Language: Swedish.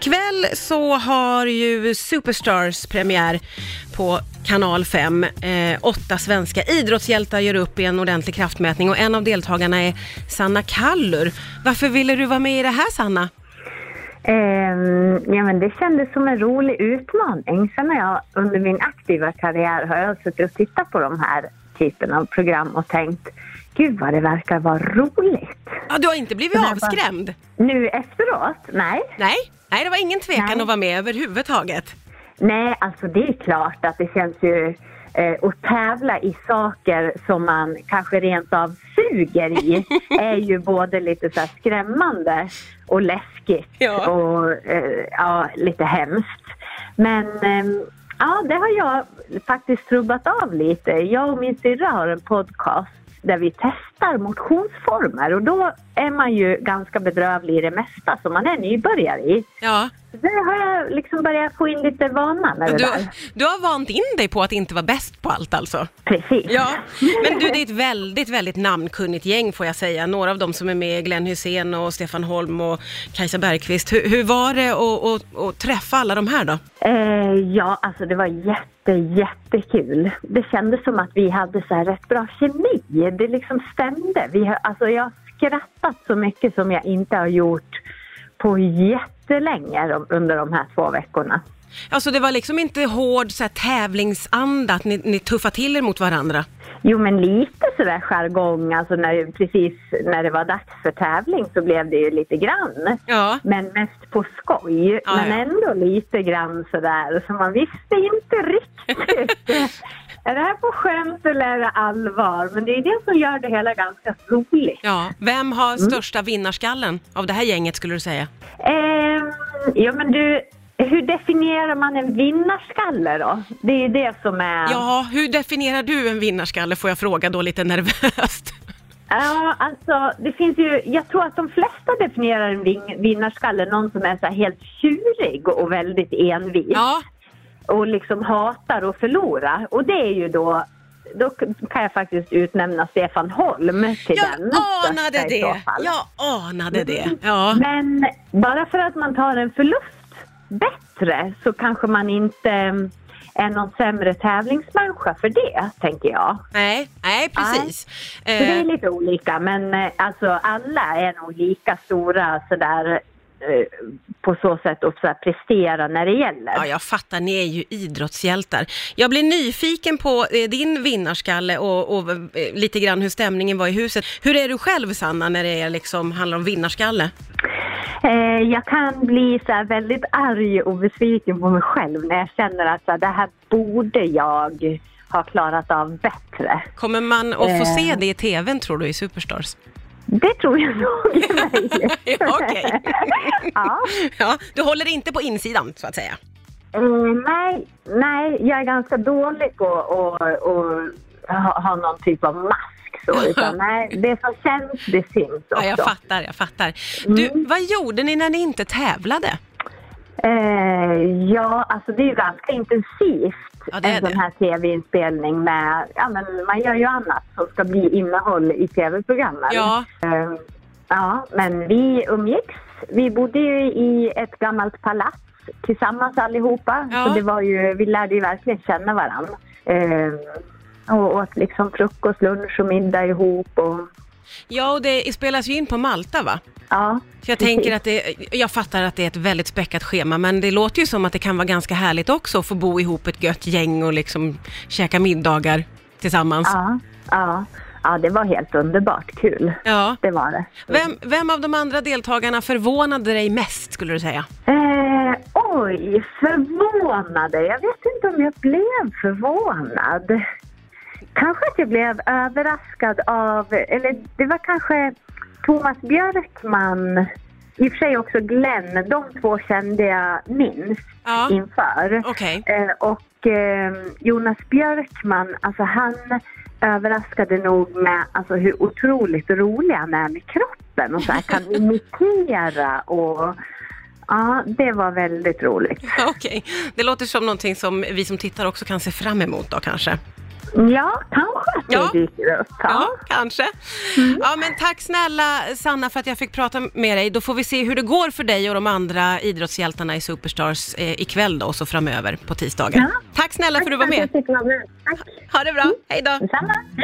Ikväll så har ju Superstars premiär på kanal 5. Eh, åtta svenska idrottshjältar gör upp i en ordentlig kraftmätning och en av deltagarna är Sanna Kallur. Varför ville du vara med i det här Sanna? Ehm, ja, men det kändes som en rolig utmaning. Sen har jag under min aktiva karriär har jag suttit och tittat på de här typen av program och tänkt Gud vad det verkar vara roligt. Ja, du har inte blivit Nej, bara- avskrämd? Nu efteråt, nej. Nej, Nej det var ingen tvekan Nej. att vara med överhuvudtaget. Nej, alltså det är klart att det känns ju eh, att tävla i saker som man kanske rent av suger i är ju både lite så här skrämmande och läskigt Ja. och eh, ja, lite hemskt. Men ehm, ja, det har jag faktiskt rubbat av lite. Jag och min syrra har en podcast där vi testar motionsformer och då är man ju ganska bedrövlig i det mesta som man är nybörjare i. Ja, Det har jag liksom börjat få in lite vana med det du, där. du har vant in dig på att inte vara bäst på allt alltså? Precis. Ja, men du det är ett väldigt, väldigt namnkunnigt gäng får jag säga. Några av dem som är med, Glenn Hussein och Stefan Holm och Kajsa Bergqvist. Hur, hur var det att, att, att träffa alla de här då? Eh, ja, alltså det var jätte, jättekul. Det kändes som att vi hade så här rätt bra kemi. Det liksom stämde. Vi har, alltså jag har skrattat så mycket som jag inte har gjort på jättelänge de- under de här två veckorna. Alltså det var liksom inte hård så här, tävlingsanda, att ni, ni tuffade till er mot varandra? Jo, men lite sådär jargong, alltså när, precis när det var dags för tävling så blev det ju lite grann. Ja. Men mest på skoj. Ja, men Ah, ja. ändå lite grann sådär. Så man visste inte riktigt. är det här på skämt eller är det allvar? Men det är det som gör det hela ganska roligt. Ja, vem har största vinnarskallen av det här gänget skulle du säga? Ehm, ja men du, hur definierar man en vinnarskalle då? Det är ju det som är... Ja, hur definierar du en vinnarskalle får jag fråga då lite nervöst. Ja, alltså det finns ju, jag tror att de flesta definierar en vin- vinnarskalle någon som är så här helt tjurig och väldigt envis. Ja, och liksom hatar att förlora. Och det är ju då, då kan jag faktiskt utnämna Stefan Holm till jag den. anade största i så det. fall. Jag anade det. Ja. Men bara för att man tar en förlust bättre så kanske man inte mm, är någon sämre tävlingsmänniska för det, tänker jag. Nej, nej precis. Så det är Eh, lite olika, men eh, alltså alla är nog lika stora sådär eh, på så sätt att så här prestera när det gäller. Ja, jag fattar, ni är ju idrottshjältar. Jag blir nyfiken på eh, din vinnarskalle och, och eh, lite grann hur stämningen var i huset. Hur är du själv Sanna när det är liksom, handlar om vinnarskalle? Eh, jag kan bli så här väldigt arg och besviken på mig själv när jag känner att så här, det här borde jag ha klarat av bättre. Kommer man att få Eh. se det i tvn tror du i Superstars? Det tror jag nog är möjligt. Ja, Okej. ja. ja, du håller inte på insidan så att säga? eh, nej, nej, jag är ganska dålig på att att ha, ha någon typ av mask. Så, utan, nej, det som känns, det syns Ja, också. jag fattar, jag fattar. Du, Mm. vad gjorde ni när ni inte tävlade? Eh, ja, alltså det är ju ganska intensivt. Ja, det är en sån det. här tv-inspelning med, ja men man gör ju annat som ska bli innehåll i tv-programmen. Ja. Eh, ja, men vi umgicks. Vi bodde ju i ett gammalt palats tillsammans allihopa. Ja. Så det var ju, vi lärde ju verkligen känna varandra. Eh, och åt liksom frukost, lunch och middag ihop och Ja, och det spelas ju in på Malta va? ja. Så jag tänker att det, jag fattar att det är ett väldigt späckat schema, men det låter ju som att det kan vara ganska härligt också att få bo ihop ett gött gäng och liksom käka middagar tillsammans. Ja, ja, ja, det var helt underbart kul. Ja. Det var det. Vem, vem av de andra deltagarna förvånade dig mest skulle du säga? Eh, oj, förvånade. Jag vet inte om jag blev förvånad. Kanske att jag blev överraskad av, eller det var kanske Thomas Björkman, i och för sig också Glenn, de två kände jag minst Ja. inför. Okej. Eh, och eh, Jonas Björkman, alltså han överraskade nog med alltså, hur otroligt rolig han är med kroppen och så här kan imitera och ja, det var väldigt roligt. Okej, det låter som någonting som vi som tittar också kan se fram emot då kanske. Ja, kanske. kanske att Ja. det dyker upp. Ja, Mm. kanske. Ja, men tack snälla Sanna för att jag fick prata med dig. Då får vi se hur det går för dig och de andra idrottshjältarna i Superstars eh, ikväll då och så framöver på tisdagen. Ja. Tack Mm. snälla för att du var Tack med. att jag fick vara med. Tack. Ha det bra, hej då. Detsamma. Hej.